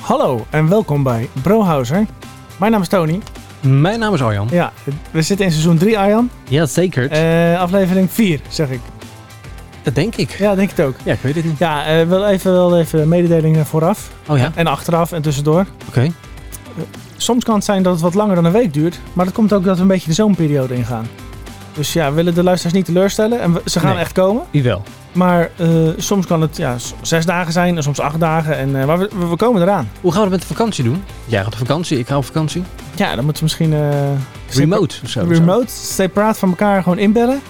Hallo en welkom bij Brohouser. Mijn naam is Tony. Mijn naam is Arjan. Ja, we zitten in seizoen 3, Arjan. Jazeker. Eh, aflevering 4, zeg ik. dat denk ik. Ja, denk ik het ook. Ja, ik weet het niet. Ja, eh, wel even, wel even mededelingen vooraf Oh ja, en achteraf en tussendoor. oké. Soms kan het zijn dat het wat langer dan een week duurt, maar dat komt ook dat we een beetje de zomerperiode ingaan. Dus ja, we willen de luisteraars niet teleurstellen en we- ze gaan Nee. echt komen. Wie wel. Maar eh, soms kan het ja, s- zes dagen zijn en soms acht dagen, en, eh, maar we, we komen eraan. Hoe gaan we dat met de vakantie doen? Jij gaat op vakantie, ik ga op vakantie. Ja, dan moeten we misschien... eh, Remote of zo. of zo. Remote, separaat van elkaar gewoon inbellen.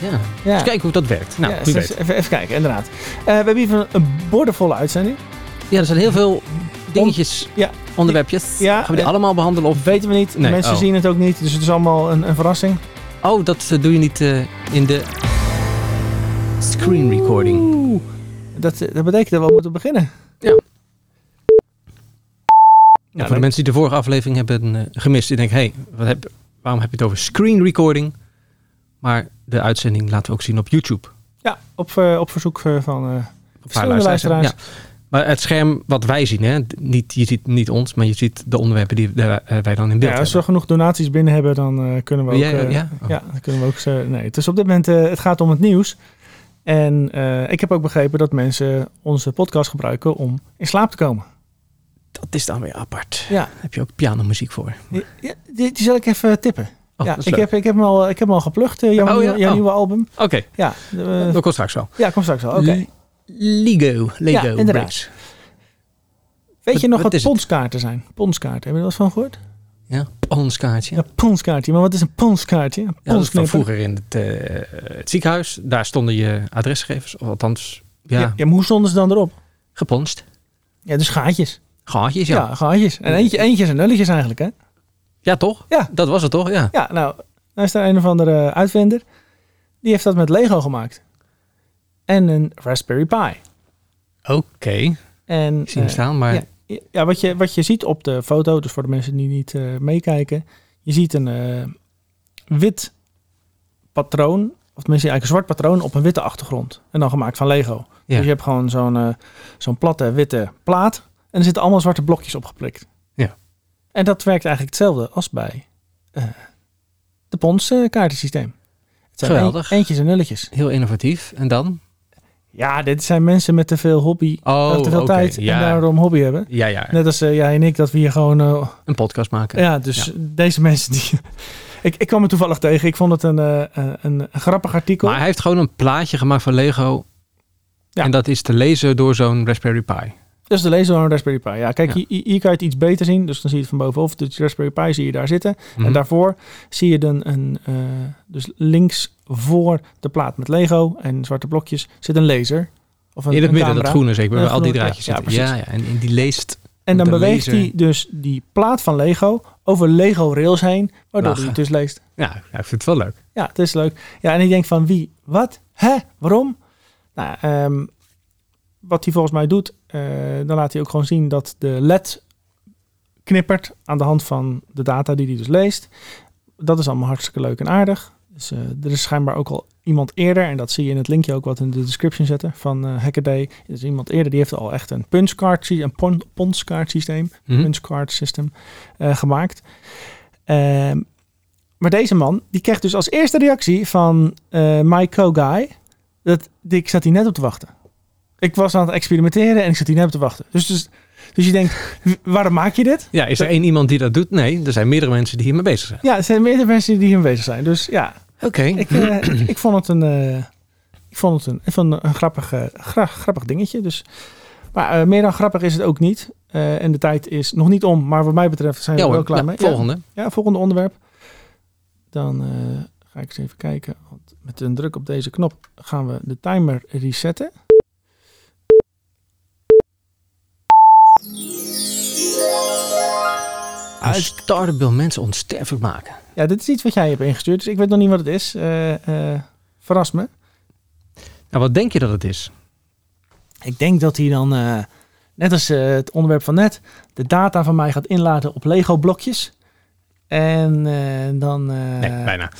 Dus Ja. Ja. Eens kijken hoe dat werkt. Nou, Ja, wie dus weet. even, even kijken, inderdaad. Eh, we hebben even een bordenvolle uitzending. Ja, er zijn heel veel dingetjes, ja. onderwerpjes. Ja, gaan we die eh. allemaal behandelen? Of... Weten we niet, Nee, mensen oh. zien het ook niet, dus het is allemaal een, een verrassing. Oh, dat eh, doe je niet eh, in de screen recording. Oeh, dat, eh, dat betekent dat we al moeten beginnen. Nou, Ja, Nou, voor de mensen die de vorige aflevering hebben eh, gemist, die denken, hey, wat heb, waarom heb je het over screen recording? Maar de uitzending laten we ook zien op YouTube. Ja, op, eh, op verzoek eh, van... eh, Een paar Verschillende luisteraars. Ja. Maar het scherm wat wij zien, hè? Niet, je ziet niet ons, maar je ziet de onderwerpen die eh, wij dan in beeld ja, als we hebben. genoeg donaties binnen hebben, dan eh, kunnen we ook... Wil jij- eh, ja? Oh. ja, dan kunnen we ook... ze- nee, het is op dit moment... eh, het gaat om het nieuws. En eh, ik heb ook begrepen dat mensen onze podcast gebruiken om in slaap te komen. Oh, Dat is dan weer apart. Ja. Daar heb je ook pianomuziek voor. Die, ja, die, die zal ik even tippen. Oh, ja, dat is ik leuk. heb, ik, heb hem al, ik heb hem al geplucht, eh, jouw, Oh, ja? jouw Oh. nieuwe album. Oké, Ja, eh, dat komt straks wel. ja, komt straks wel. Oké. L- Lego. Lego. inderdaad. bricks. Weet je wat- nog wat wat, is het? ponskaarten zijn? Ponskaarten, hebben jullie er wat van gehoord? Ja, ons kaartje. Ja, ponskaartje. Maar wat is een ponskaartje? Een Ja, dat is van ponsknipper. vroeger in het, eh, het ziekenhuis. Daar stonden je adresgegevens. Of althans, ja, Ja. ja, maar hoe stonden ze dan erop? geponst. Ja, dus gaatjes. Gaatjes, Ja, ja. ja. gaatjes. En eentje, eentjes en nulletjes eigenlijk, hè? toch? Ja. Dat was het toch? Ja. Ja, nou, daar is er een of andere eh, uitvinder. Die heeft dat met Lego gemaakt. En een Raspberry Pi. Oké. En, Ik zie hem eh, staan, maar... ja. Ja, wat je, wat je ziet op de foto, dus voor de mensen die niet eh, meekijken, je ziet een eh, wit patroon, of tenminste eigenlijk een zwart patroon op een witte achtergrond. En dan gemaakt van Lego. Ja. Dus je hebt gewoon zo'n eh, zo'n platte witte plaat en er zitten allemaal zwarte blokjes opgeplikt. Ja. En dat werkt eigenlijk hetzelfde als bij eh, de Pons eh, kaartensysteem. Het zijn Geweldig. een- eentjes en nulletjes. Heel innovatief. En dan? Ja, dit zijn mensen met te veel hobby, Oh, te veel oké, tijd ja. en daarom hobby hebben. Ja, ja. Net als eh, jij en ik, dat we hier gewoon eh, Een podcast maken. Ja, dus deze mensen die. Ik, ik kwam er toevallig tegen. Ik vond het een, eh, eh, een grappig artikel. Maar hij heeft gewoon een plaatje gemaakt van Lego. Ja. En dat is te lezen door zo'n Raspberry Pi. Mhm. Dus de lezer van een Raspberry Pi. Ja, kijk, Ja. Hier, hier kan je het iets beter zien. Dus dan zie je het van bovenaf. De Raspberry Pi zie je daar zitten. En Mhm. daarvoor zie je dan een. eh, dus links voor de plaat met Lego en zwarte blokjes zit een laser. Of een, in het een midden, dat camera. groene zeker, waar Ja, al die groene, draadjes ja, ja, zitten. Ja, ja, en, en die leest... En dan de beweegt laser. hij dus die plaat van Lego over Lego rails heen. Waardoor hij Lachen. het dus leest. Ja, ja, ik vind het wel leuk. Ja, het is leuk. Ja, en ik denk van wie, wat, hè, waarom? Nou, ehm, wat hij volgens mij doet, eh, dan laat hij ook gewoon zien dat de LED knippert aan de hand van de data die hij dus leest. Dat is allemaal hartstikke leuk en aardig. Dus, eh, er is schijnbaar ook al iemand eerder, en dat zie je in het linkje ook wat in de description zetten van eh Hackaday. Er is iemand eerder die heeft al echt een punchcard, sy- een pon- punchcard systeem Mhm. punchcard system eh, gemaakt. Ehm, maar deze man, die kreeg dus als eerste reactie van eh my co-guy, dat, die, ik zat hier net op te wachten. Ik was aan het experimenteren en ik zat hier net op te wachten. Dus, dus, dus je denkt, w- waarom maak je dit? Ja, is er één iemand die dat doet? Nee, er zijn meerdere mensen die hiermee bezig zijn. Ja, er zijn meerdere mensen die hier bezig zijn. Dus ja, Oké. ik, eh, ik vond het een, eh, ik vond het een, ik vond het een grappig, eh, gra- grappig dingetje. Dus. Maar eh, meer dan grappig is het ook niet. Eh, en de tijd is nog niet om, maar wat mij betreft zijn we Ja er eh, wel hoor, klaar Ja, mee. Ja. volgende. Ja, volgende onderwerp. Dan eh, ga ik eens even kijken. Want met een druk op deze knop gaan we de timer resetten. Uitstartable mensen onsterfelijk maken. Ja, dit is iets wat jij hebt ingestuurd, dus ik weet nog niet wat het is. Eh, eh, verras me. Nou, wat denk je dat het is? Ik denk dat hij dan, eh, net als eh, het onderwerp van net, de data van mij gaat inladen op Lego-blokjes. En eh, dan... eh, Nee, bijna.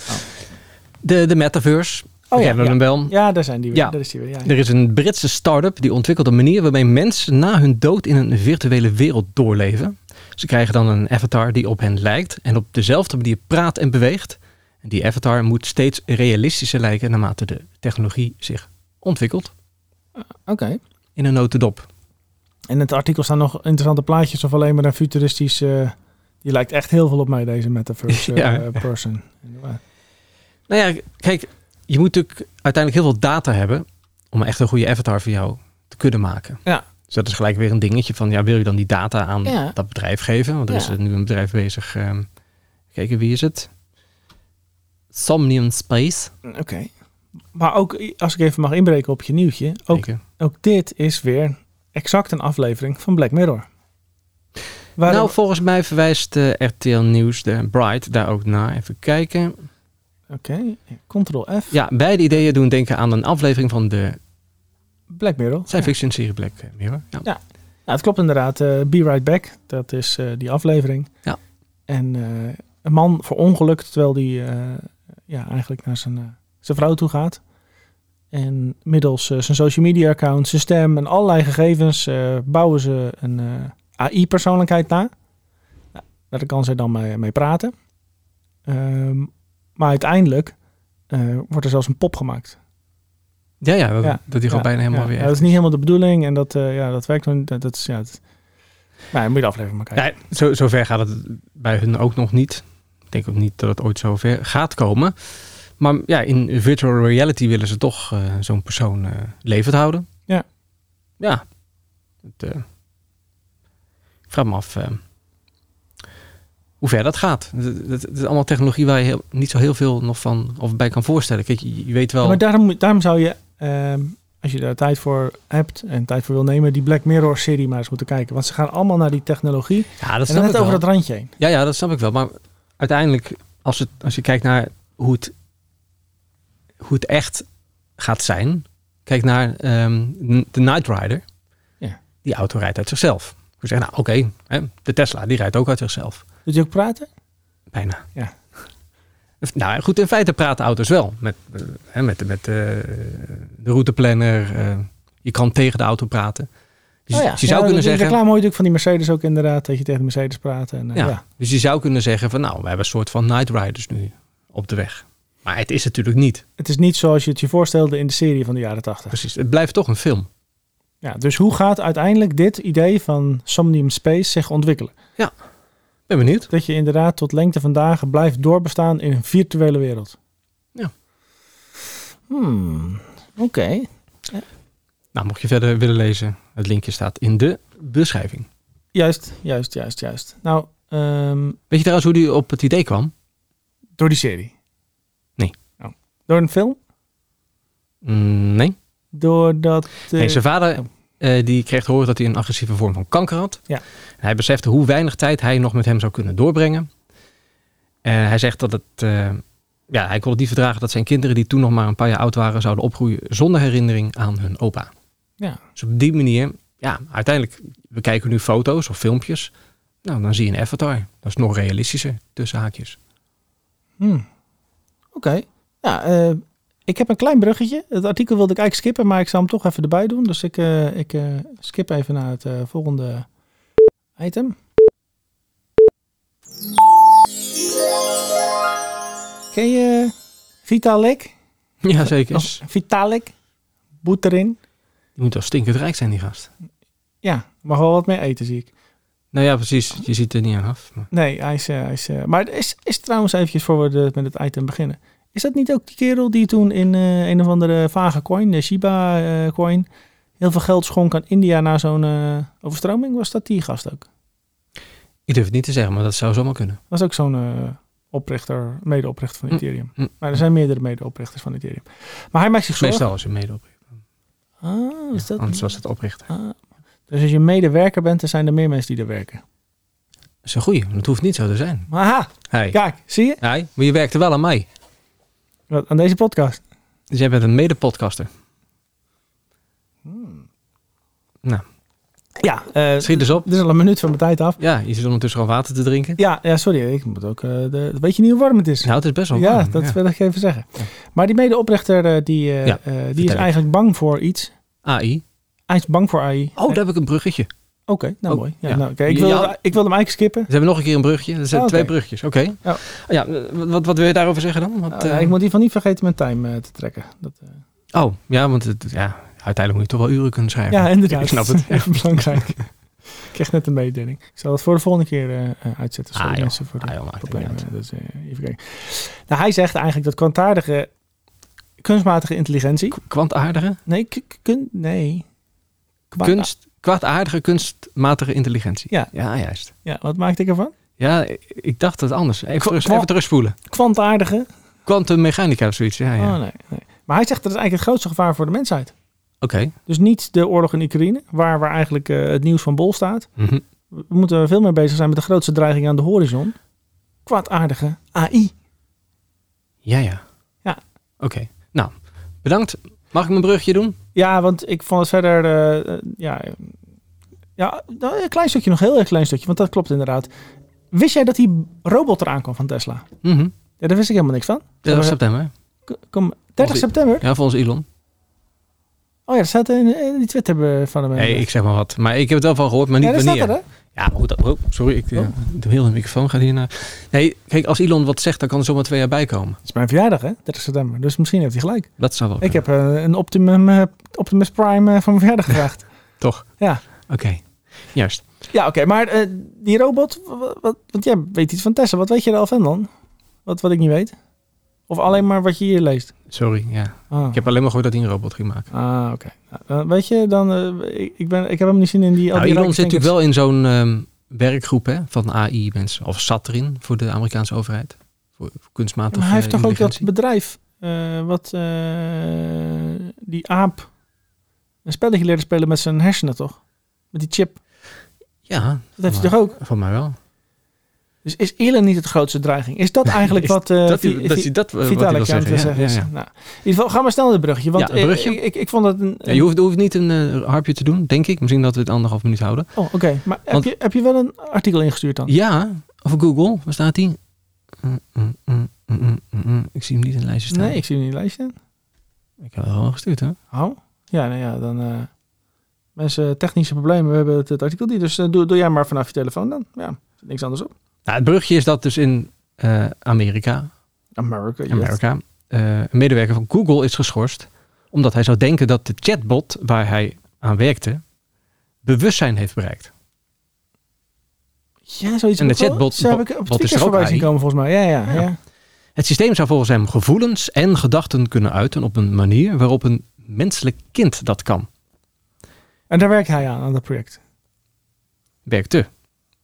De, de metaverse. Oh, jij wil ja. hem wel. Ja, daar zijn die weer. Ja. Daar is die weer. Ja, ja. Er is een Britse start-up die ontwikkelt een manier waarmee mensen na hun dood in een virtuele wereld doorleven. Ze krijgen dan een avatar die op hen lijkt en op dezelfde manier praat en beweegt. En die avatar moet steeds realistischer lijken naarmate de technologie zich ontwikkelt. Oké. In een notendop. In het artikel staan nog interessante plaatjes of alleen maar een futuristisch. eh, die lijkt echt heel veel op mij, deze metaverse eh, Ja. person. Ja. Nou ja, kijk, je moet natuurlijk uiteindelijk heel veel data hebben om echt een goede avatar voor jou te kunnen maken. Ja. Dus dat is gelijk weer een dingetje van, ja, wil je dan die data aan Ja. dat bedrijf geven? Want er Ja. is nu een bedrijf bezig, ehm kijken wie is het? Somnium Space. Oké. Maar ook, i- als ik even mag inbreken op je nieuwtje. Ook, Kijken. ook dit is weer exact een aflevering van Black Mirror. Waarom- Nou, volgens mij verwijst eh, RTL Nieuws, de Bright, daar ook naar. Even kijken. Oké, Ctrl F. Ja, beide ideeën doen denken aan een aflevering van de Black Mirror. science fiction serie Black Mirror. Ja. Ja, het klopt inderdaad. eh, Be Right Back, dat is eh, die aflevering. Ja. En eh, een man verongelukt terwijl die eh, ja, eigenlijk naar zijn, eh, zijn vrouw toe gaat. En middels eh, zijn social media account, zijn stem en allerlei gegevens eh, bouwen ze een AI-persoonlijkheid na. Nou, daar kan zij dan mee, mee praten. Ehm, maar uiteindelijk eh, wordt er zelfs een pop gemaakt. Ja, ja, dat, Ja. dat die gewoon Ja, bijna helemaal ja. weer Ja, dat is niet helemaal de bedoeling en dat, eh, ja, dat werkt dan. Dat, dat is, ja, dat, nou, moet je de aflevering maar kijken. Ja, zo, zover gaat het bij hun ook nog niet. Ik denk ook niet dat het ooit zover gaat komen. Maar ja, in virtual reality willen ze toch eh, zo'n persoon eh, levend houden. Ja. Ja. Het, eh, ik vraag me af eh, hoe ver dat gaat. Het het- het is allemaal technologie waar je heel- niet zo heel veel nog van of bij kan voorstellen. Kijk, je, je weet wel... Ja, maar daarom, moet- daarom zou je, ehm, als je daar tijd voor hebt en tijd voor wil nemen, die Black Mirror serie maar eens moeten kijken. Want ze gaan allemaal naar die technologie. ja, dat en dan snap ik net over wel. dat randje heen. Ja, ja, dat snap ik wel. Maar uiteindelijk, als, het, als je kijkt naar hoe het, hoe het echt gaat zijn. Kijk naar ehm, de Night Rider. Ja. Die auto rijdt uit zichzelf. Dus zeggen, nou oké, hè, de Tesla die rijdt ook uit zichzelf. Doet je ook praten? Bijna. Ja. Nou goed, in feite praten auto's wel. Met, eh, hè, met, met eh, de routeplanner. eh, je kan tegen de auto praten. Dus Oh ja. je zou Ja, kunnen die zeggen... reclame hoor je natuurlijk van die Mercedes ook inderdaad, dat je tegen de Mercedes praat. En, eh, Ja. ja. Dus je zou kunnen zeggen van nou, we hebben een soort van night riders nu op de weg. Maar het is natuurlijk niet. Het is niet zoals je het je voorstelde in de serie van de jaren 80. Precies. Het blijft toch een film. Ja, dus hoe gaat uiteindelijk dit idee van Somnium Space zich ontwikkelen? Ik ben benieuwd. Dat je inderdaad tot lengte van dagen blijft doorbestaan in een virtuele wereld. Ja. Hmm, oké. Nou, mocht je verder willen lezen, het linkje staat in de beschrijving. Juist, juist, juist, juist. Nou, ehm, Weet je trouwens hoe die op het idee kwam? door die serie? Nee. Oh. Door een film? Mm, nee. Door dat... eh, nee. Zijn vader eh, die kreeg te horen dat hij een agressieve vorm van kanker had. Ja. En hij besefte hoe weinig tijd hij nog met hem zou kunnen doorbrengen. En hij zegt dat het... eh, ja, hij kon het niet verdragen dat zijn kinderen die toen nog maar een paar jaar oud waren... zouden opgroeien zonder herinnering aan hun opa. ja. Dus op die manier, ja, uiteindelijk, we kijken nu foto's of filmpjes. Nou, dan zie je een avatar. Dat is nog realistischer, tussen haakjes. Hmm. Oké. Ja, eh, ik heb een klein bruggetje. Het artikel wilde ik eigenlijk skippen, maar ik zal hem toch even erbij doen. Dus ik, eh, ik eh, skip even naar het eh, volgende item. Ken je Vitalik? Ja, zeker. Of Vitalik Buterin? Je moet wel stinkend rijk zijn, die gast. Ja, mag wel wat meer eten, zie ik. Nou ja, precies. Je ziet er niet aan af. Maar... Nee, hij is... eh, hij is eh, maar is, is trouwens eventjes voor we de- met het item beginnen. Is dat niet ook die kerel die toen in eh, een of andere vage coin, de Shiba eh, coin, heel veel geld schonk aan India na zo'n eh, overstroming? Was dat die gast ook? Ik durf het niet te zeggen, maar dat zou zomaar kunnen. Dat was ook zo'n eh, oprichter, medeoprichter van Mm, Ethereum. mm. Maar er zijn meerdere medeoprichters van Ethereum. Maar hij maakt zich zorgen. Meestal als je mede oprichter. Ah, is dat... Anders was het oprichter. Ah. Dus als je medewerker bent, dan zijn er meer mensen die er werken. Dat is een goeie. want Het hoeft niet zo te zijn. Aha, Hey. kijk, zie je? Hey, maar je werkte wel aan mij. Wat, aan deze podcast. Dus jij bent een mede-podcaster. Nou, Ja, eh, Schiet dus op. dit is al een minuut van mijn tijd af. Ja, je zit ondertussen al water te drinken. Ja, ja sorry, ik moet ook. eh, de, weet je niet hoe warm het is? Nou, het is best wel Ja, warm, dat wil ik even zeggen. Ja. Maar die medeoprichter, eh, die, eh, Ja, eh, die is vertel ik. eigenlijk bang voor iets. AI. Hij is bang voor AI. Oh, daar Eh, heb ik een bruggetje. Oké, nou oh, mooi. Ja, ja. nou, oké, ik, Ja, wil, ja. ik wil hem eigenlijk skippen. Ze hebben nog een keer een bruggetje. Er zijn Oh, oké. twee bruggetjes. Oké. Ja. Ja, wat, wat wil je daarover zeggen dan? Wat, Ah, ik eh, moet in ieder geval niet vergeten mijn time eh, te trekken. Dat, eh, Oh, ja, want het, ja, uiteindelijk moet je toch wel uren kunnen schrijven. ja, inderdaad. Ik snap Dat het. is Echt belangrijk. ik kreeg net een mededeling. Ik zal het voor de volgende keer eh, eh, uitzetten. Sorry Ah, joh. mensen voor de Ah, joh, maakt het niet problemen. uit. Dus, eh, even kijken. Nou, hij zegt eigenlijk dat kwantaardige kunstmatige intelligentie. Kwantaardige, Nee, k- k- kun, nee. Kwa- kunst, kwaadaardige, kunstmatige intelligentie. Ja. ja, juist. Ja, wat maakte ik ervan? Ja, ik- ik dacht dat anders. Even, Kwa- terug, kwa- even terugspoelen. Kwantaardige. Quantummechanica of zoiets. Ah, Ja, ja. Oh, nee, nee. Maar hij zegt dat is eigenlijk het grootste gevaar voor de mensheid. Oké. Dus niet de oorlog in Oekraïne, waar, waar eigenlijk eh, het nieuws van bol staat. Mhm. We moeten veel meer bezig zijn met de grootste dreiging aan de horizon. Kwaadaardige AI. Ja, ja. Ja. Oké. Nou, bedankt. Mag ik mijn brugje doen? Ja, want ik vond het verder. eh, eh, ja, eh, ja, nou, een klein stukje nog, heel erg klein stukje, want dat klopt inderdaad. Wist jij dat die robot eraan kwam van Tesla? Mhm. Ja, daar wist ik helemaal niks van. Ja, dat was Maar, september. eh, k- Kom, 30 Onze- september? Ja, volgens Elon. Oh ja, dat staat in, in die Twitter eh, van hem. Nee, ik zeg maar wat. Maar ik heb het wel van gehoord, maar niet ja, dat wanneer. staat er, hè? Ja, maar hoe dat, oh, sorry, ik, Oh. eh, de hele microfoon gaat hier naar. Nee, kijk, als Elon wat zegt, dan kan er zomaar twee jaar bij komen. Het is mijn verjaardag, hè? 30 september. Dus misschien heeft hij gelijk. Dat zou wel. Ik kunnen. heb eh, een Optimum, eh, Optimus Prime eh, van mijn verjaardag gevraagd. Toch? Ja. Oké, juist. ja, oké. maar eh, die robot, wa- wa- wat, want jij weet iets van Tesla. Wat weet je er al van dan? Wat, wat ik niet weet? Of alleen maar wat je hier leest? Sorry, ja. Ah. Ik heb alleen maar gehoord dat hij een robot ging maken. Ah, oké. Nou, dan weet je, dan, eh, ik, ik, ben, ik heb helemaal niet zin in die... al Nou, die Elon rijke zit natuurlijk stinkers. wel in zo'n ehm, werkgroep hè, van AI-mensen. Of zat erin voor de Amerikaanse overheid. Voor, voor kunstmatige Ja, maar hij heeft toch ook dat intelligentie. bedrijf eh, wat eh, die aap een spelletje leerde spelen met zijn hersenen, toch? Met die chip. Ja, Dat heeft hij toch Maar- ook? van mij wel. Dus is Elon niet het grootste dreiging? Is dat eigenlijk Is wat... eh, dat, Vi- hij, dat, Vi- hij, dat eh, wat hij Vitalik wil aan het zeggen. Ja, zeggen ja, is. ja. Nou, in ieder geval, ga maar snel naar het brugje. Want Ja, het eh, brugje. Ik, ik, ik vond dat een... Ja, je hoeft, er hoeft niet een eh, harpje te doen, denk ik. Misschien dat we het anderhalf minuut houden. Oh, oké. Maar Want- heb, je, heb je wel een artikel ingestuurd dan? Ja, of Google. Waar staat die? Mm, mm, mm, mm, mm, mm. Ik zie hem niet in het lijstje staan. nee, ik zie hem niet in het lijstje. Ik heb het wel gestuurd, hè? Oh, ja, nou ja, dan... eh, mensen, technische problemen, we hebben het, het artikel niet. Dus eh, doe, doe jij maar vanaf je telefoon dan. Ja, er zit niks anders op. Nou, het brugje is dat dus in eh, Amerika, America, yes. Amerika eh, een medewerker van Google is geschorst. Omdat hij zou denken dat de chatbot waar hij aan werkte, bewustzijn heeft bereikt. Ja, zoiets. En de heb ik wel- chatbot- Zo heb ik op bot is Twitter er ook voorbij zien AI. komen volgens mij. Ja, ja, ja. Ja. Het systeem zou volgens hem gevoelens en gedachten kunnen uiten op een manier waarop een menselijk kind dat kan. En daar werkt hij aan, aan dat project. Werkte.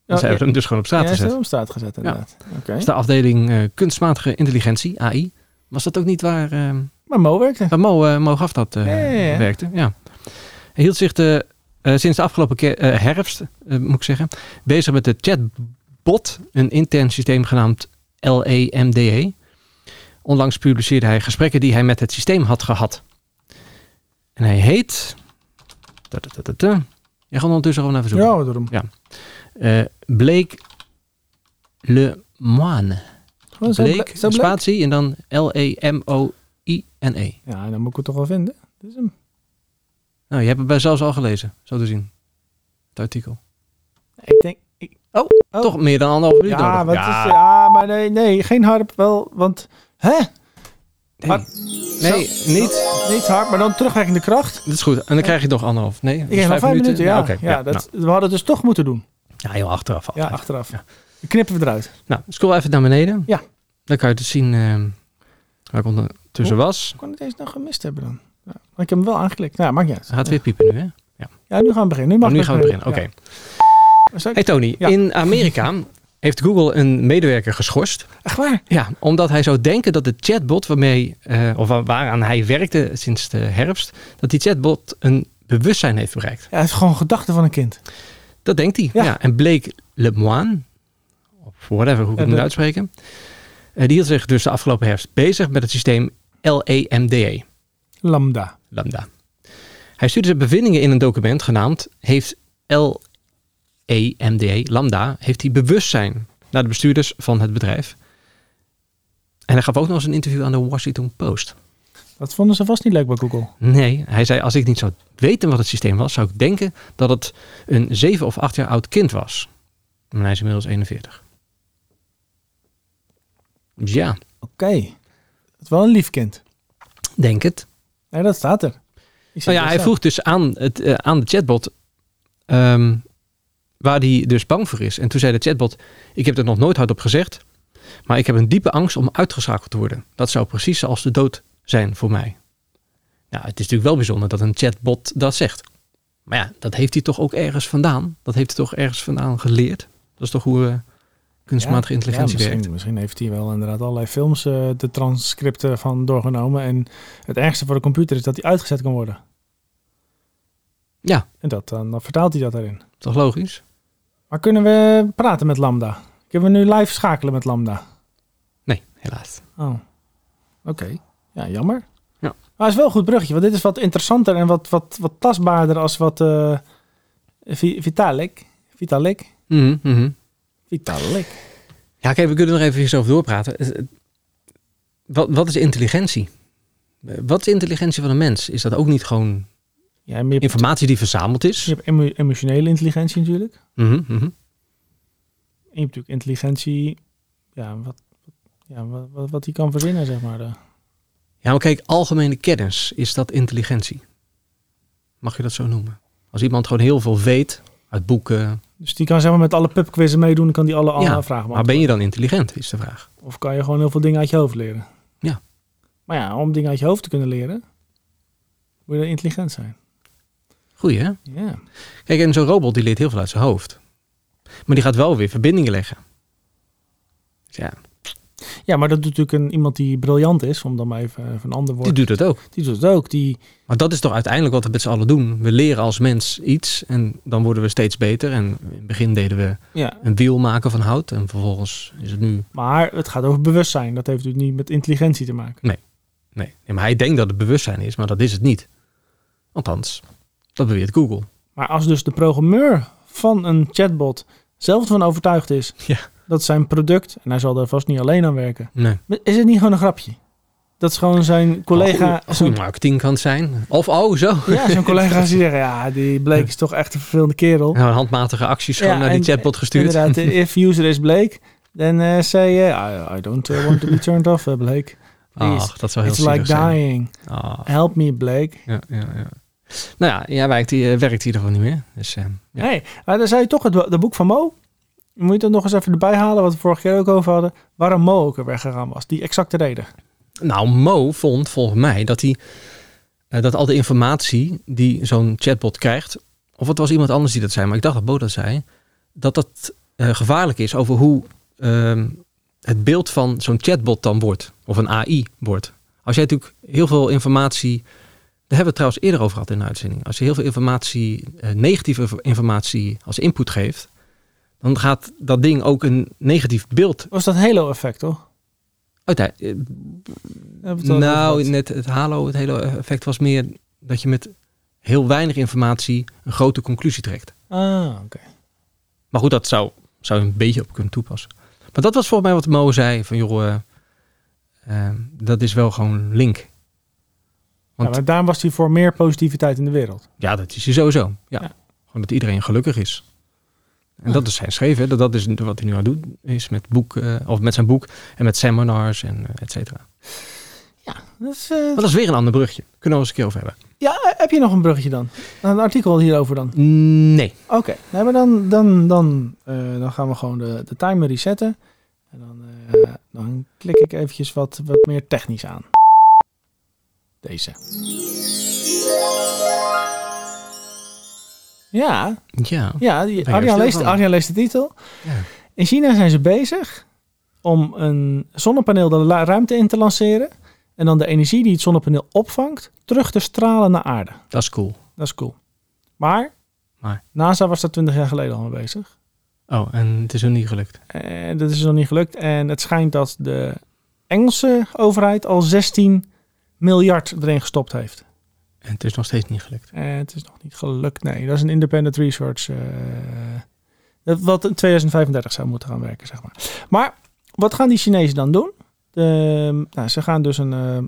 Dus hij heeft hem dus gewoon op straat Oh, ja, is gezet. hem op staat gezet inderdaad. Oké. Dus de afdeling eh, kunstmatige intelligentie, AI, was dat ook niet waar... ehm, Maar Mo werkte. Ja, Mo, eh, Mo gaf dat eh, Ja, ja, ja. werkte. Ja. Hij hield zich de, eh, sinds de afgelopen ke- eh, herfst, eh, moet ik zeggen, bezig met de chatbot, een intern systeem genaamd E LEMDE. Onlangs publiceerde hij gesprekken die hij met het systeem had gehad. En hij heet. Ta -ta -ta -ta -ta. Je gaat ondertussen gewoon even zoeken. Ja, daarom. Eh, Blake Le Moine. Gewoon Oh, zo Blake, ble- zo bleek. spatie en dan E L-E-M-O-I-N-E. Ja, dan moet ik het toch wel vinden. Dit is hem. Nou, je hebt het bij zelfs al gelezen, zo te zien. Het artikel. Ik denk... Ik, Oh, Oh. Toch meer dan anderhalf minuut ja, nodig. wat Is, ja, maar nee, nee, geen harp wel, want... Hè? nee, maar- nee niet. Niet harp, maar dan terugwerkende kracht. Dat is goed. En dan krijg je nog anderhalf. Nee, dus dat Ik is heb nog vijf minuten, ja. oké, ja, dat, We hadden het dus toch moeten doen. nou. ja, heel achteraf. Ja, altijd. achteraf. Ja. Die knippen we eruit. Nou, scroll even naar beneden. Ja. Dan kan je dus zien ehm, waar ik ondertussen was. Ik kon het eens nog gemist hebben dan. Ja, maar ik heb hem wel aangeklikt. Nou, ja, maakt niet uit. Het gaat weer piepen nu, hè? Ja, nu gaan we beginnen. Nu, mag nu ik gaan we beginnen. Oké. Ja. Zal ik- Hey Tony, Ja. in Amerika heeft Google een medewerker geschorst. Echt waar? Ja, omdat hij zou denken dat de chatbot waarmee, eh, of wa- waaraan hij werkte sinds de herfst, dat die chatbot een bewustzijn heeft bereikt. Ja, het is gewoon gedachten van een kind. Dat denkt hij. Ja. Ja. En Blake Lemoine, of whatever, hoe ik Ja, het moet de- uitspreken, eh, die hield zich dus de afgelopen herfst bezig met het systeem E LEMDE, Lambda. Lambda. Hij stuurde zijn bevindingen in een document genaamd Heeft E LEMDE, Lambda, heeft hij bewustzijn naar de bestuurders van het bedrijf. En hij gaf ook nog eens een interview aan de Washington Post. Dat vonden ze vast niet leuk bij Google. Nee, hij zei als ik niet zou weten wat het systeem was, zou ik denken dat het een 7 of 8 jaar oud kind was. En hij is inmiddels 41. Dus ja, Oké. Het is wel een lief kind. denk het. Nee, dat staat er. Ik zie Nou ja, het hij zo. vroeg dus aan, het, eh, aan de chatbot ehm, waar hij dus bang voor is. En toen zei de chatbot, ik heb er nog nooit hardop gezegd, maar ik heb een diepe angst om uitgeschakeld te worden. Dat zou precies als de dood zijn voor mij. Nou, het is natuurlijk wel bijzonder dat een chatbot dat zegt. Maar ja, dat heeft hij toch ook ergens vandaan. Dat heeft hij toch ergens vandaan geleerd. Dat is toch hoe eh, kunstmatige Ja, intelligentie misschien, werkt. Misschien heeft hij wel inderdaad allerlei films eh, de transcripten van doorgenomen. En het ergste voor de computer is dat hij uitgezet kan worden. Ja. En dat, dan, dan vertaalt hij dat daarin. Toch logisch? Maar kunnen we praten met Lambda? Kunnen we nu live schakelen met Lambda? Nee, helaas. Oh, oké. Ja, jammer. Ja. Maar het is wel een goed bruggetje, want dit is wat interessanter en wat, wat, wat tastbaarder als wat eh, Vi- Vitalik. Vitalik? Mhm, mhm. Vitalik. Ja, kijk, we kunnen nog even hierover doorpraten. Het- het- Wat, wat is intelligentie? Eh, Wat is intelligentie van een mens? Is dat ook niet gewoon Ja, en je, hebt, informatie die verzameld je is? hebt emo- emotionele intelligentie natuurlijk. Mhm, mhm. En je hebt natuurlijk intelligentie, ja, wat, wat- ja, wat, wat, wat die kan verzinnen, zeg maar. eh. Ja, maar kijk, algemene kennis, is dat intelligentie? Mag je dat zo noemen? Als iemand gewoon heel veel weet uit boeken, Dus die kan zeg maar met alle pubquizzen meedoen, dan kan die alle, alle Ja, vragen maar ben je dan intelligent, is de vraag. beantwoorden. Of kan je gewoon heel veel dingen uit je hoofd leren? Ja. Maar ja, om dingen uit je hoofd te kunnen leren, moet je intelligent zijn. Goeie, hè? Ja. Kijk, en zo'n robot die leert heel veel uit zijn hoofd. Maar die gaat wel weer verbindingen leggen. Dus ja, ja, maar dat doet natuurlijk een, iemand die briljant is, om dan maar even eh, van een ander die woord. doet dat ook. Die doet het ook. Die, Maar dat is toch uiteindelijk wat we met z'n allen doen. We leren als mens iets en dan worden we steeds beter. En in het begin deden we ja. een wiel maken van hout. En vervolgens is het nu... Maar het gaat over bewustzijn. Dat heeft natuurlijk niet met intelligentie te maken. Nee, nee maar hij denkt dat het bewustzijn is, maar dat is het niet. Althans, dat beweert Google. Maar als dus de programmeur van een chatbot zelf van overtuigd is Ja. dat zijn product, en hij zal daar vast niet alleen aan werken, Nee. maar is het niet gewoon een grapje? Dat is gewoon zijn collega. Als een marketing kan het zijn. Of oh, zo. ja, zijn collega's die zeggen, ja, die Blake is toch echt een vervelende kerel. Nou, handmatige acties gewoon Ja, naar die en- chatbot gestuurd. Inderdaad, if user is Blake, then eh, say, eh, I, I don't eh, want to be turned off, eh, Blake. Ach, dat zou heel It's like zielig zijn. dying. Ah, Help me, Blake. ja, ja, ja. Nou ja, jij werkt, hier- werkt hier gewoon niet meer. Dus, eh, ja. Nee, maar dan zei je toch het dat boek van Mo. Moet je dat nog eens even erbij halen, wat we vorige keer ook over hadden. Waarom Mo ook er weggegaan was. Die exacte reden. Nou, Mo vond volgens mij dat hij eh, dat al de informatie die zo'n chatbot krijgt, of het was iemand anders die dat zei, maar ik dacht dat Bo dat zei, dat dat eh, gevaarlijk is over hoe ehm, het beeld van zo'n chatbot dan wordt, of een AI wordt. Als jij natuurlijk heel veel informatie, daar hebben we het trouwens eerder over gehad in de uitzending, als je heel veel informatie, eh, negatieve informatie als input geeft, dan gaat dat ding ook een negatief beeld Was dat Halo-effect, toch? uit. eh, Daar hebben we het al over Nou, gehad. net het halo, het hele effect was meer dat je met heel weinig informatie een grote conclusie trekt. Ah, oké. Maar goed, dat zou, zou je een beetje op kunnen toepassen. Maar dat was volgens mij wat Mo zei, van joh, eh, eh, dat is wel gewoon link. Want- Ja, maar daarom was hij voor meer positiviteit in de wereld. Ja, dat is hij sowieso. Ja. Ja. Gewoon dat iedereen gelukkig is. En Ja. dat is zijn schreef, hè. Dat, dat is wat hij nu aan het doen is met, boek, eh, of met zijn boek en met seminars en eh, et cetera. Dus, eh, Maar dat is weer een ander brugje. Kunnen we wel eens een keer over hebben. ja, eh, heb je nog een bruggetje dan? Een artikel hierover dan? Nee. Oké, nee, maar dan, dan, dan, eh, dan gaan we gewoon de, de timer resetten. En dan, eh, dan klik ik eventjes wat, wat meer technisch aan. Deze. Ja, Ja. ja die, Ben je er Arjan, stil leest, van? Arjan leest de titel. Ja. In China zijn ze bezig om een zonnepaneel de la- ruimte in te lanceren. En dan de energie die het zonnepaneel opvangt, terug te stralen naar aarde. Dat is cool. Dat is cool. Maar, Maar. NASA was daar 20 jaar geleden al mee bezig. Oh, en het is hem niet gelukt. En dat is dus nog niet gelukt. En het schijnt dat de Engelse overheid al 16 miljard erin gestopt heeft. En het is nog steeds niet gelukt. Eh, het is nog niet gelukt. Nee, dat is een independent research. eh, dat wat in 2035 zou moeten gaan werken, zeg maar. Maar wat gaan die Chinezen dan doen? De, nou, ze gaan dus een. eh,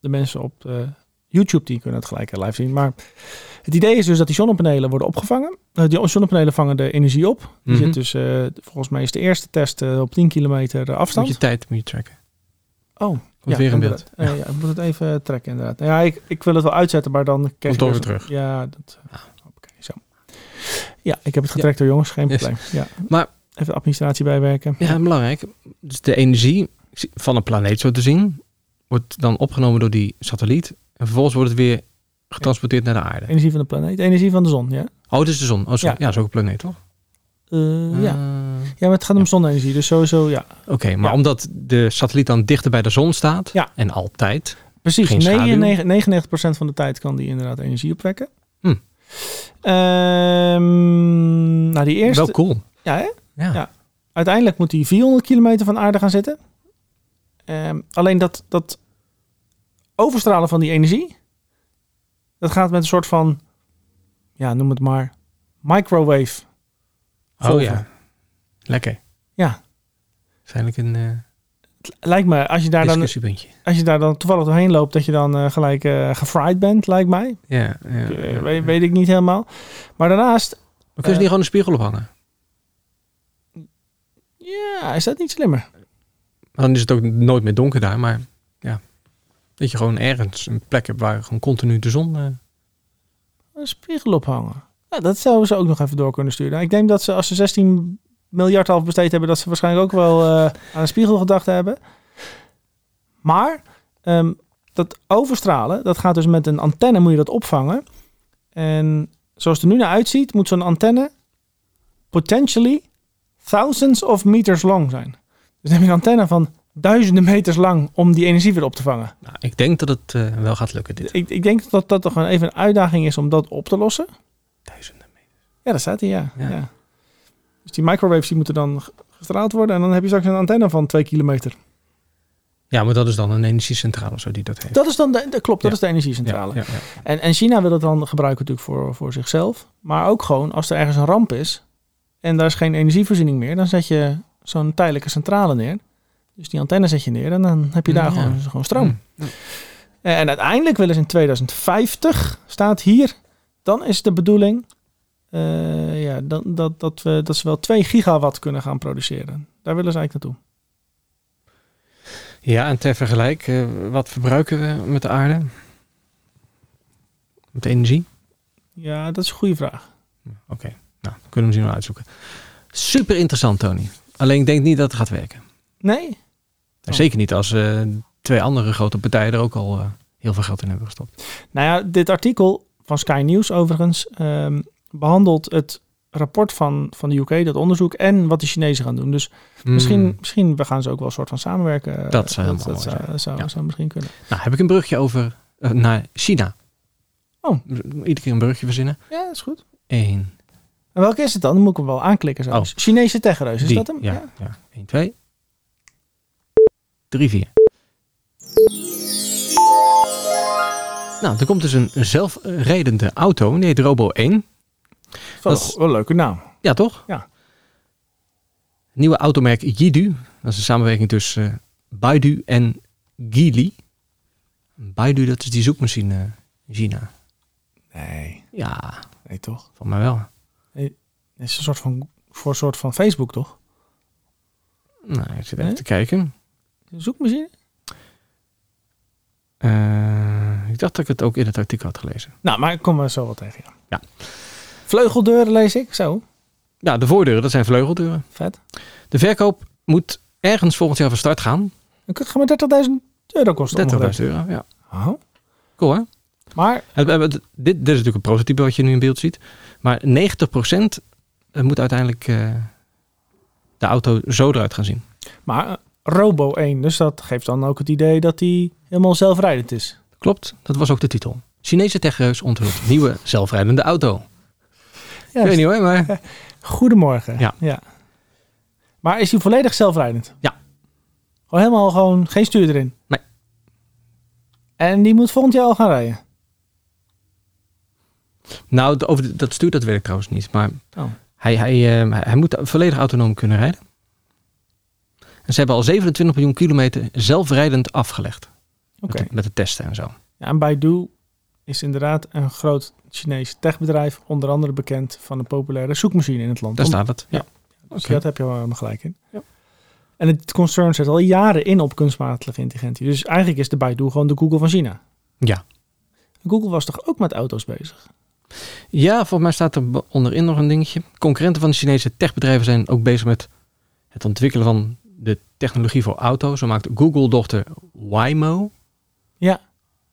de mensen op eh, YouTube die kunnen het gelijk live zien. Maar het idee is dus dat die zonnepanelen worden opgevangen. Eh, die zonnepanelen vangen de energie op. Die Mhm. zit dus, eh, volgens mij is de eerste test eh, op 10 kilometer afstand. Moet je tijd moet je tracken. Oh, Komt weer in beeld. inderdaad. Eh, ja, ik moet het even trekken inderdaad. Nou Ja, ik, ik wil het wel uitzetten, maar dan krijg Komt ik toch weer eerst- terug. Ah. Ja, dat, oké, zo. Ja, ik heb het getrekt door jongens, geen Yes. probleem. Ja. Maar- even administratie bijwerken. Ja, belangrijk. Dus de energie van een planeet zo te zien, wordt dan opgenomen door die satelliet. En vervolgens wordt het weer getransporteerd naar de aarde. Energie van de planeet, energie van de zon, ja. Oh, het is de zon. Oh, sorry. Ja. Ja, dat is ook een planeet, toch? Eh, ja. Eh, ja, maar het gaat om Ja. zonne-energie, dus sowieso ja. Oké, maar Ja. omdat de satelliet dan dichter bij de zon staat, Ja. en altijd, Precies, Geen negen- schaduw. negen- 99% van de tijd kan die inderdaad energie opwekken. Hm. Ehm, nou, die eerste... wel cool. Ja, hè? Ja. Ja. Uiteindelijk moet hij 400 kilometer van aarde gaan zitten. Ehm, alleen dat, dat overstralen van die energie, dat gaat met een soort van, ja, noem het maar, microwave. Oh golven. ja, lekker. Ja. Waarschijnlijk een eh, Lijkt me, als je daar dan, discussiepuntje. als je daar dan toevallig doorheen loopt, dat je dan eh, gelijk eh gefried bent, lijkt mij. Ja, ja, ja. Eh, weet, weet ik niet helemaal. Maar daarnaast, Maar kun je niet gewoon een spiegel ophangen? ja, is dat niet slimmer? Maar dan is het ook nooit meer donker daar, maar ja. Dat je gewoon ergens een plek hebt waar gewoon continu de zon... eh, Een spiegel ophangen. Ja, dat zouden ze ook nog even door kunnen sturen. Ik denk dat ze als ze 16 miljard half besteed hebben, dat ze waarschijnlijk ook wel eh, aan een spiegel gedacht hebben. Maar ehm, dat overstralen, dat gaat dus met een antenne moet je dat opvangen. En zoals het er nu naar uitziet, moet zo'n antenne potentially thousands of meters lang zijn. Dus dan heb je een antenne van duizenden meters lang om die energie weer op te vangen. nou, ik denk dat het eh, wel gaat lukken dit. Ik, ik denk dat dat toch gewoon even een uitdaging is om dat op te lossen. Duizenden. Ja, daar staat hij, ja. ja. Ja. Dus die microwaves die moeten dan g- gestraald worden. En dan heb je straks een antenne van twee kilometer. Ja, maar dat is dan een energiecentrale of zo die dat heeft. Dat is dan, de, de- klopt, dat Ja. is de ja, energiecentrale. ja, ja. En, en China wil het dan gebruiken natuurlijk voor, voor zichzelf. Maar ook gewoon als er ergens een ramp is en daar is geen energievoorziening meer. Dan zet je zo'n tijdelijke centrale neer. Dus die antenne zet je neer en dan heb je daar Ja. gewoon, gewoon stroom. Hm. Eh, En en uiteindelijk willen ze in 2050, staat hier, dan is de bedoeling eh, ja, dan, dat, dat, we, dat ze wel 2 gigawatt kunnen gaan produceren. Daar willen ze eigenlijk naartoe. Ja, en ter vergelijk, eh, wat verbruiken we met de aarde? Met energie? Ja, dat is een goede vraag. Oké, nou, kunnen we hem zien wel uitzoeken. Super interessant, Tony. Alleen ik denk niet dat het gaat werken. Nee? En Zeker niet als eh, twee andere grote partijen er ook al eh, heel veel geld in hebben gestopt. Nou ja, dit artikel van Sky News overigens ehm, behandelt het rapport van, van de UK, dat onderzoek, en wat de Chinezen gaan doen. Dus misschien, Hmm. misschien we gaan ze ook wel een soort van samenwerken. eh, Dat zou dat, helemaal dat mooi zou, zou, Ja. zou misschien kunnen. Nou, heb ik een brugje over eh, naar China. Oh. Iedere keer een brugje verzinnen. Ja, dat is goed. Eén. En welke is het dan? Dan moet ik hem wel aanklikken. Zo. Oh. Chinese techreus, is die. dat hem? Ja, ja. Eén, twee. Drie, vier. Nou, er komt dus een zelfrijdende auto. Nee, de Robo 1. Dat Dat is is- wel een leuke naam. Ja, toch? Ja. Nieuwe automerk Jidu. Dat is een samenwerking tussen eh, Baidu en Geely. Baidu, dat is die zoekmachine eh, in China. Nee, Ja, nee toch? van mij wel. Het is een soort van, voor een soort van Facebook, toch? Nou, ik zit even Nee? te kijken. Een Zoekmachine? Eh, ik dacht dat ik het ook in het artikel had gelezen. Nou, maar ik kom er zo wel tegen, ja. Ja. Vleugeldeuren lees ik, zo. Ja, de voordeuren, dat zijn vleugeldeuren. Vet. De verkoop moet ergens volgend jaar van start gaan. 30.000 Dan kan het maar 30.000 euro kosten. omgerekend. euro, ja. Oh. Cool hè? Maar, Het- het- het- dit, dit is natuurlijk een prototype wat je nu in beeld ziet. Maar 90% moet uiteindelijk eh, de auto zo eruit gaan zien. maar eh, Robo 1, dus dat geeft dan ook het idee dat die helemaal zelfrijdend is. Klopt, dat was ook de titel. Chinese techreus onthult nieuwe zelfrijdende auto. Ik Ja, weet niet hoor, maar... Goedemorgen. Ja. Maar is die volledig zelfrijdend? Ja. Gewoon helemaal gewoon geen stuur erin? Nee. En die moet volgend jaar al gaan rijden? Nou, d- over de- dat stuurt dat weet ik trouwens niet. Maar Oh. hij, hij, eh, hij moet volledig autonoom kunnen rijden. En ze hebben al 27 miljoen kilometer zelfrijdend afgelegd. Oké. Met, de, met de testen en zo. Ja, en Baidu is inderdaad een groot Chinees techbedrijf. Onder andere bekend van een populaire zoekmachine in het land. Daar staat het. Ja. Ja. Dus Oké. dat heb je wel helemaal gelijk in. Ja. En het concern zet al jaren in op kunstmatige intelligentie. Dus eigenlijk is de Baidu gewoon de Google van China. Ja. Google was toch ook met auto's bezig? ja, volgens mij staat er b- onderin nog een dingetje. Concurrenten van de Chinese techbedrijven zijn ook bezig met het ontwikkelen van de technologie voor auto's. Zo maakt Google-dochter Waymo. Ja.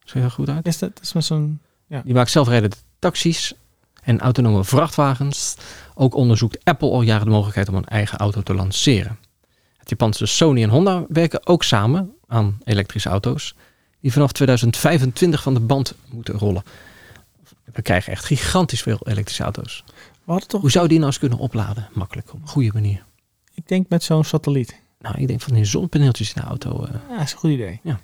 Zeg je dat goed uit? Is dat, dat is met zo'n... Die maakt zelfrijdende taxis en autonome vrachtwagens. Ook onderzoekt Apple al jaren de mogelijkheid om een eigen auto te lanceren. Het Japanse Sony en Honda werken ook samen aan elektrische auto's. Die vanaf 2025 van de band moeten rollen. We krijgen echt gigantisch veel elektrische auto's. We hadden toch... Hoe zou die nou eens kunnen opladen? Makkelijk, op een goede manier. Ik denk met zo'n satelliet. Nou, ik denk van die zonnepaneeltjes in de auto. eh, Ja, dat is een goed idee. Ja.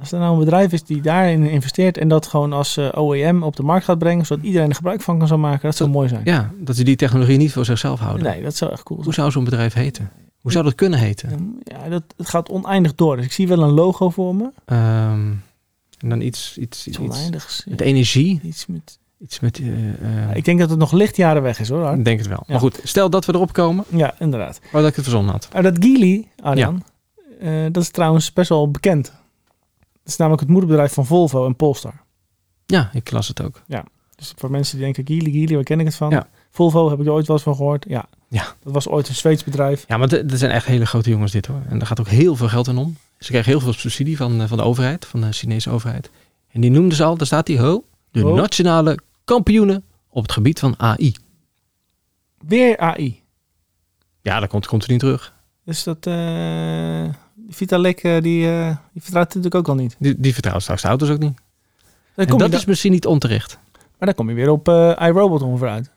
Als er nou een bedrijf is die daarin investeert en dat gewoon als eh, OEM op de markt gaat brengen, zodat iedereen er gebruik van kan zou maken, dat zou mooi zijn. ja, dat ze die technologie niet voor zichzelf houden. nee, dat zou echt cool Hoe zijn. zou zo'n bedrijf heten? Hoe zou dat kunnen heten? Ja, dat, het gaat oneindig door. Dus ik zie wel een logo voor me. Ehm, en dan iets, iets, Iets iets, iets oneindigs. met ja. energie. Iets met... Iets met. eh, eh, Ik denk dat het nog lichtjaren weg is hoor. Art. ik denk het wel. Ja. Maar goed, stel dat we erop komen. Ja, inderdaad. Oh, dat ik het verzonnen had. Maar dat Geely, Arjan, eh, dat is trouwens best wel bekend. Dat is namelijk het moederbedrijf van Volvo en Polestar. Ja, ik las het ook. Dus voor mensen die denken, Geely, Geely, waar ken ik het van? Ja. Volvo heb ik er ooit wel eens van gehoord. Ja, Ja. dat was ooit een Zweeds bedrijf. Ja, maar d- dat zijn echt hele grote jongens, dit hoor. En daar gaat ook heel veel geld in om. Ze krijgen heel veel subsidie van, eh, van de overheid, van de Chinese overheid. En die noemden ze al, daar staat die Ho, de Ho. nationale kampioenen op het gebied van AI. Weer AI. Ja, dat komt, komt er niet terug. Dus dat eh, Vitalik, eh, die, eh, die vertrouwt het natuurlijk ook al niet. Die, die vertrouwen straks de auto's ook niet. Dan En kom je dat da- is misschien niet onterecht. Maar dan kom je weer op eh, iRobot ongeveer uit.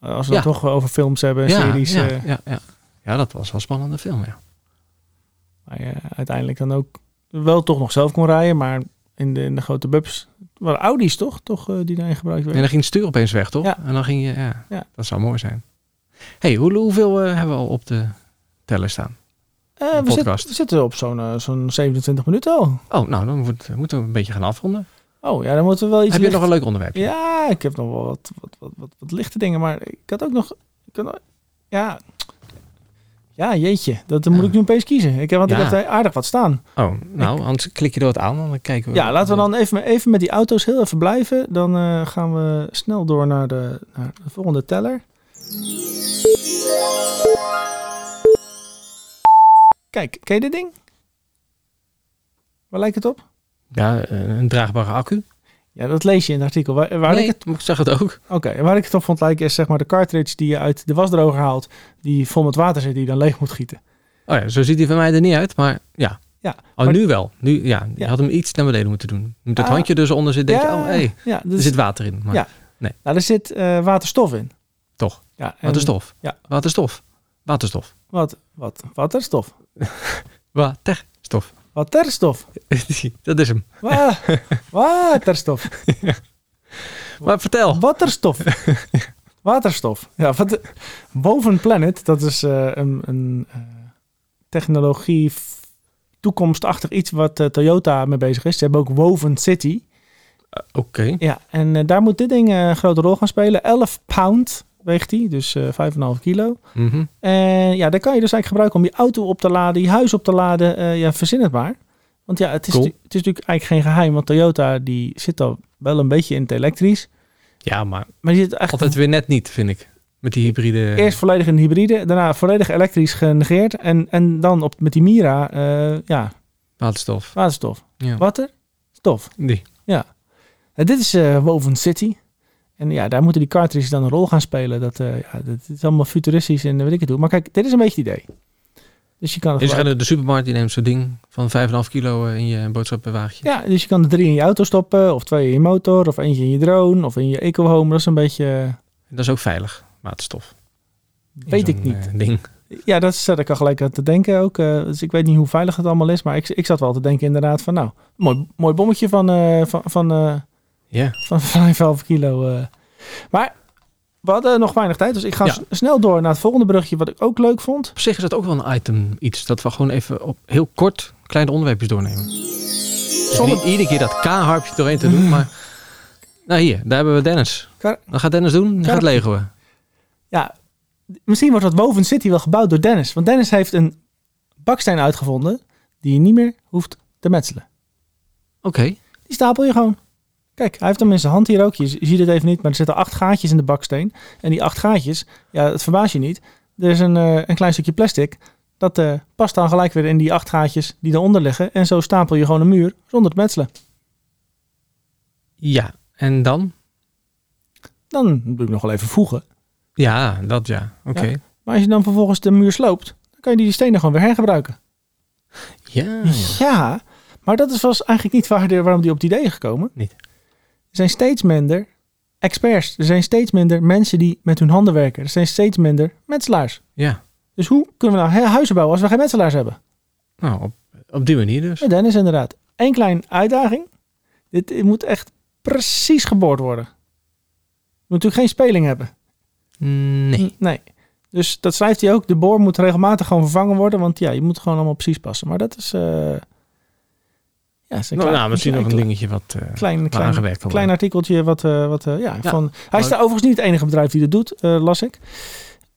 Eh, Als we Ja. het toch over films hebben en ja, series. ja, eh, ja, ja. ja, dat was wel een spannende film, ja. waar je uiteindelijk dan ook wel toch nog zelf kon rijden, maar in de, in de grote bubs. Het waren Audi's toch, toch eh, die daarin gebruikt En werden? dan ging het stuur opeens weg, toch? Ja. En dan ging je, ja, Ja. dat zou mooi zijn. hey, hoe, hoeveel eh, hebben we al op de teller staan? Eh, een we, zitten- podcast. we zitten op zo'n eh, zo'n 27 minuten al. Oh, nou, dan moet- moeten we een beetje gaan afronden. Oh ja, dan moeten we wel iets Heb je licht- nog een leuk onderwerp? Ja, ik heb nog wel wat, wat, wat, wat, wat lichte dingen, maar ik had ook nog... Ik had, ja, ja, jeetje, dat moet Ja. ik nu opeens kiezen. Ik heb, want ik Ja. heb daar aardig wat staan. Oh, nou, anders klik je door het aan en dan kijken we. Ja, laten we dan even, even met die auto's heel even blijven. Dan eh, gaan we snel door naar de, naar de volgende teller. Kijk, ken je dit ding? Waar lijkt het op? Ja, eh, een draagbare accu. Ja, dat lees je in het artikel. Waar, waar nee, ik het, ik zag het ook. oké, en waar ik het op vond lijken is zeg maar de cartridge die je uit de wasdroger haalt. Die vol met water zit die je dan leeg moet gieten. Oh ja, zo ziet hij van mij er niet uit, maar ja. Ja, Oh, maar- nu wel. Nu, ja, je Ja. had hem iets naar beneden moeten doen. Met dat Ah. handje dus onder zit, denk je, ja, oh hey, ja, er dus, zit water in. Maar Ja. nou, er zit eh, waterstof in. Toch. Ja, en- Waterstof. Ja. Waterstof. Waterstof. Wat, wat, waterstof. Waterstof. Waterstof. dat is hem. Wa- Waterstof. Maar vertel. Waterstof. Waterstof. Ja, wat, Woven Planet, dat is eh, een, een eh, technologie, f- toekomstachtig iets wat eh, Toyota mee bezig is. Ze hebben ook Woven City. Oké. Ja, en eh, daar moet dit ding eh, een grote rol gaan spelen. 11 pound weegt hij, dus eh 5,5 kilo. Mhm. En ja, daar kan je dus eigenlijk gebruiken om je auto op te laden, je huis op te laden. Eh, ja, verzin het maar. Want ja, het is, Cool. tu- het is natuurlijk eigenlijk geen geheim. Want Toyota die zit al wel een beetje in het elektrisch. Ja, maar Maar die zit eigenlijk altijd weer net niet, vind ik. Met die hybride. eerst volledig in hybride. Daarna volledig elektrisch genegeerd. En, en dan op, met die Mira, eh, ja, Waterstof. waterstof. Ja. Water, stof. Die. En dit is eh Woven City. En ja, daar moeten die cartridges dan een rol gaan spelen. Dat, eh, ja, dat is allemaal futuristisch en weet ik het hoe. Maar kijk, dit is een beetje het idee. Dus je kan het Is gebruiken. er de supermarkt die neemt zo'n ding van 5,5 kilo eh, in je boodschappenwagentje? Ja, dus je kan er drie in je auto stoppen, of twee in je motor, of eentje in je drone, of in je eco-home. Dat is een beetje, eh, Dat is ook veilig, waterstof. In weet ik zo'n, niet. eh, ding. Ja, dat zat ik al gelijk aan te denken ook. eh, dus ik weet niet hoe veilig het allemaal is, maar ik, ik zat wel te denken inderdaad van nou, mooi, mooi bommetje van, eh van, van, eh Ja. van 5,5 kilo. eh. Maar we hadden nog weinig tijd, dus ik ga Ja. s- snel door naar het volgende brugje, wat ik ook leuk vond. Op zich is dat ook wel een item iets. Dat we gewoon even op heel kort kleine onderwerpjes doornemen. Dus Zonder- niet iedere keer dat K-harpje doorheen te doen, maar... Nou hier, daar hebben we Dennis. Kar- Wat gaat Dennis doen? Hij Kar- gaat Lego. Ja, misschien wordt dat Woven City wel gebouwd door Dennis. Want Dennis heeft een baksteen uitgevonden die je niet meer hoeft te metselen. Oké. Die stapel je gewoon. Kijk, hij heeft hem in zijn hand hier ook. Je z- ziet het even niet, maar er zitten acht gaatjes in de baksteen. En die acht gaatjes, ja, het verbaast je niet. Er is een, eh, een klein stukje plastic. Dat eh, past dan gelijk weer in die acht gaatjes die daaronder liggen. En zo stapel je gewoon een muur zonder te metselen. Ja, en dan? Dan moet ik nog wel even voegen. Ja, dat ja. Oké. Maar als je dan vervolgens de muur sloopt, dan kan je die stenen gewoon weer hergebruiken. Ja. Hm. ja. Ja, maar dat is was eigenlijk niet waar de- waarom die op het idee is gekomen. Niet. Er zijn steeds minder experts. Er zijn steeds minder mensen die met hun handen werken. Er zijn steeds minder metselaars. Ja. Dus hoe kunnen we nou hu- huizen bouwen als we geen metselaars hebben? Nou, op, op die manier dus. Ja, Dennis, inderdaad. Eén kleine uitdaging. Dit dit moet echt precies geboord worden. Je moet natuurlijk geen speling hebben. Nee. N- Nee. Dus dat schrijft hij ook. De boor moet regelmatig gewoon vervangen worden. Want ja, je moet gewoon allemaal precies passen. Maar dat is... eh, ja, is een Nou, klein- nou, misschien nog een klein- dingetje wat, eh, klein, waar klein, aangewerkt kan klein worden. artikeltje wat, eh, wat eh, ja, Oh. Ja, van... Hij is leuk. daar overigens niet het enige bedrijf die dat doet, eh, las ik.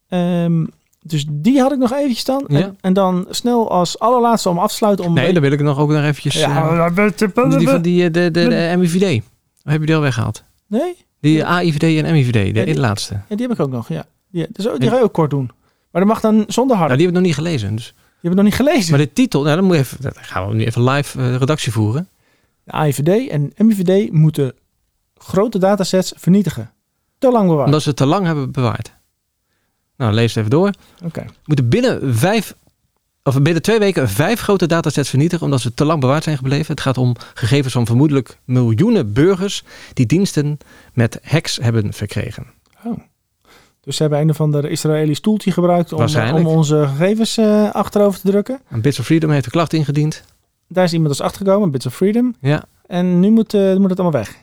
Ehm, dus die had ik nog eventjes dan. Ja. En, en dan snel als allerlaatste om af te sluiten om... Nee, dan wil ik nog ook nog eventjes... eh, ja, die van die, eh, de, de, de MIVD. Of heb je die al weggehaald? Nee, Die AIVD en MIVD, de, Ja, die- Oh, de laatste. ja, die heb ik ook nog, ja. Die, dus ook- die ga je ook kort doen. Maar dat mag dan zonder harde. Nou, die heb ik nog niet gelezen. Dus. Je hebt het nog niet gelezen. Maar de titel, nou, dan, moet je even, dan gaan we nu even live eh, redactie voeren. De AIVD en MIVD moeten grote datasets vernietigen. Te lang bewaren. Omdat ze het te lang hebben bewaard. Nou, lees het even door. Oké. moeten binnen vijf. Of binnen twee weken vijf grote datasets vernietigen omdat ze te lang bewaard zijn gebleven. Het gaat om gegevens van vermoedelijk miljoenen burgers die diensten met hacks hebben verkregen. Dus ze hebben een of ander Israëlisch stoeltje gebruikt om, eh, om Waarschijnlijk. onze gegevens eh, achterover te drukken. En Bits of Freedom heeft een klacht ingediend. Daar is iemand als achtergekomen, Bits of Freedom. Ja. En nu moet, eh, moet het allemaal weg.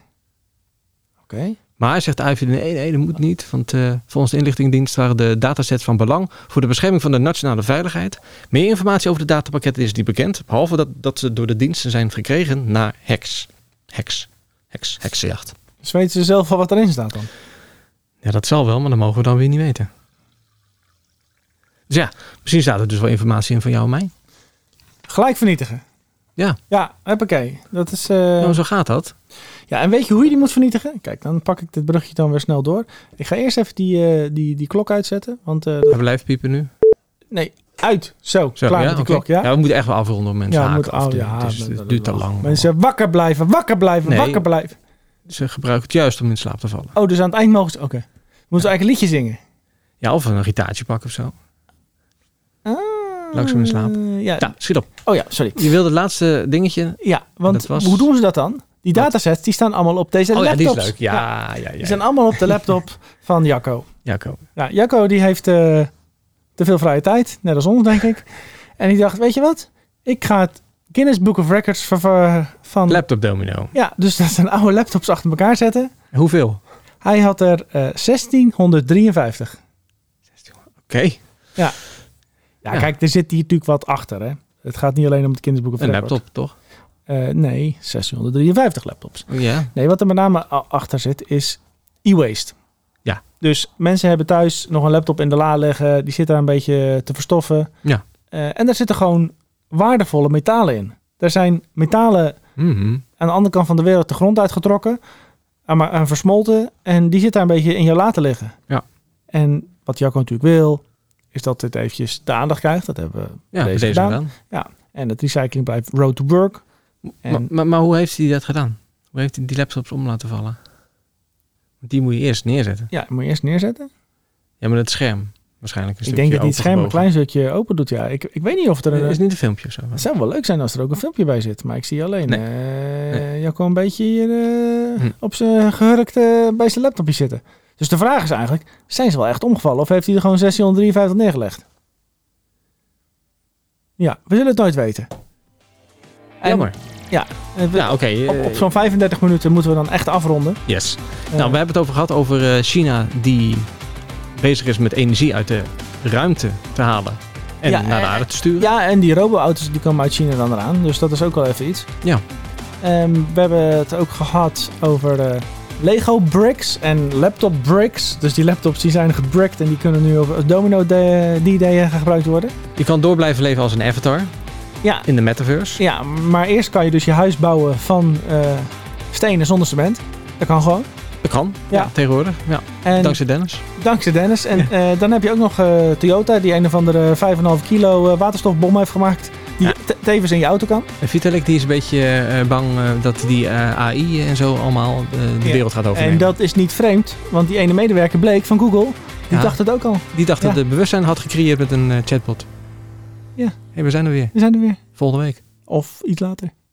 Oké. Maar zegt Ivy, nee, nee, dat moet niet. Want eh, volgens de inlichtingendienst waren de datasets van belang voor de bescherming van de nationale veiligheid. Meer informatie over de datapakketten is niet bekend. Behalve dat, dat ze door de diensten zijn gekregen na hacks. Hacks. Hacks. Heksenjacht. Dus weten ze zelf wel wat erin staat dan? Ja, dat zal wel, maar dat mogen we dan weer niet weten. Dus ja, misschien staat er dus wel informatie in van jou en mij. Gelijk vernietigen. Ja. Ja, hoppakee. Dat is... eh, Nou, zo gaat dat. Ja, en weet je hoe je die moet vernietigen? Kijk, dan pak ik dit brugje dan weer snel door. Ik ga eerst even die, eh, die, die klok uitzetten. Want... eh, We blijven piepen nu. nee, uit. Zo, Zo, klaar ja, met die oké. klok, ja? we moeten echt wel afronden om mensen Ja, we haken moeten af te af- doen. ja, Het is- dat- het dat- duurt te dat- lang. Mensen, wakker blijven, wakker blijven, Nee. wakker blijven. Ze gebruiken het juist om in slaap te vallen. Oh, dus aan het eind mogen ze... Oké. We moeten eigenlijk een liedje zingen. Ja, of een gitaartje pakken of zo. Ah, Langzaam in slaap. Ja. Ja, schiet op. Oh ja, sorry. Je wilde het laatste dingetje. Ja, want Dat was- hoe doen ze dat dan? Die Wat? datasets die staan allemaal op deze oh ja, laptops. die is leuk. Ja, ja, die ja. zijn ja. allemaal op de laptop van Jacco. Jacco. Ja, Jacco die heeft eh, te veel vrije tijd, net als ons denk ik. En die dacht, weet je wat? Ik ga het Guinness Book of Records ver- ver- van... Laptop domino. ja, dus dat zijn oude laptops achter elkaar zetten. Hoeveel? Hij had er eh, 1653. Oké. Ja, Ja. kijk, er zit hier natuurlijk wat achter hè. Het gaat niet alleen om het Guinness Book of Een Records. laptop, toch? Oh, Eh, nee, 653 laptops. Ja. Nee, wat er met name a- achter zit is e-waste. Ja. Dus mensen hebben thuis nog een laptop in de la liggen. Die zit daar een beetje te verstoffen. Ja. Eh, en daar zitten gewoon waardevolle metalen in. Er zijn metalen Mhm. aan de andere kant van de wereld de grond uitgetrokken. En, maar, en versmolten. En die zit daar een beetje in je la te liggen. Ja. En wat Jacco natuurlijk wil, is dat dit eventjes de aandacht krijgt. Dat hebben we. Deze Ja, deze, deze gedaan. gedaan. En het recycling blijft road to work. En- Maar, maar, maar hoe heeft hij dat gedaan? Hoe heeft hij die laptops om laten vallen? Want Die moet je eerst neerzetten. Ja, moet je eerst neerzetten. Ja, maar dat scherm waarschijnlijk. Een Ik denk dat die die het scherm een klein stukje open doet. Ja, ik, ik weet niet of er een. Eh, is niet een filmpje of zo. Het zou wel leuk zijn als er ook een filmpje bij zit, maar ik zie alleen eh Nee. Jacco een beetje hier eh, Hm. op zijn gehurkt eh, bij zijn laptopje zitten. Dus de vraag is eigenlijk, zijn ze wel echt omgevallen of heeft hij er gewoon 1653 neergelegd? Ja, we zullen het nooit weten. En, Jammer. Eh, we- Ja, oké. eh, op, op zo'n 35 minuten moeten we dan echt afronden. yes. Eh, Nou, we hebben het over gehad over eh, China die bezig is met energie uit de ruimte te halen en Ja, naar de eh, aarde te sturen. Ja, en die robo-auto's die komen uit China dan eraan. Dus dat is ook wel even iets. Ja. Ehm, we hebben het ook gehad over eh, Lego bricks en laptop bricks. Dus die laptops die zijn gebrickt en die kunnen nu over- als domino de- die ideeën gaan gebruikt worden. Je kan door blijven leven als een avatar Ja. in de metaverse. Ja, maar eerst kan je dus je huis bouwen van eh, stenen zonder cement. Dat kan gewoon. Dat kan, ja. Ja. tegenwoordig. Ja. En Dankzij Dennis. dankzij Dennis. En eh, dan heb je ook nog eh, Toyota die een of andere 5,5 kilo eh, waterstofbom heeft gemaakt. Die Ja. te- tevens in je auto kan. En Vitalik die is een beetje eh, bang eh, dat die eh, AI en zo allemaal eh, de Ja. wereld gaat overnemen. En dat is niet vreemd, want die ene medewerker bleek van Google, die Ja. dacht het ook al. Die dacht dat Ja. het bewustzijn had gecreëerd met een eh, chatbot. Ja. Hé, we zijn er weer. We zijn er weer. Volgende week. Of iets later.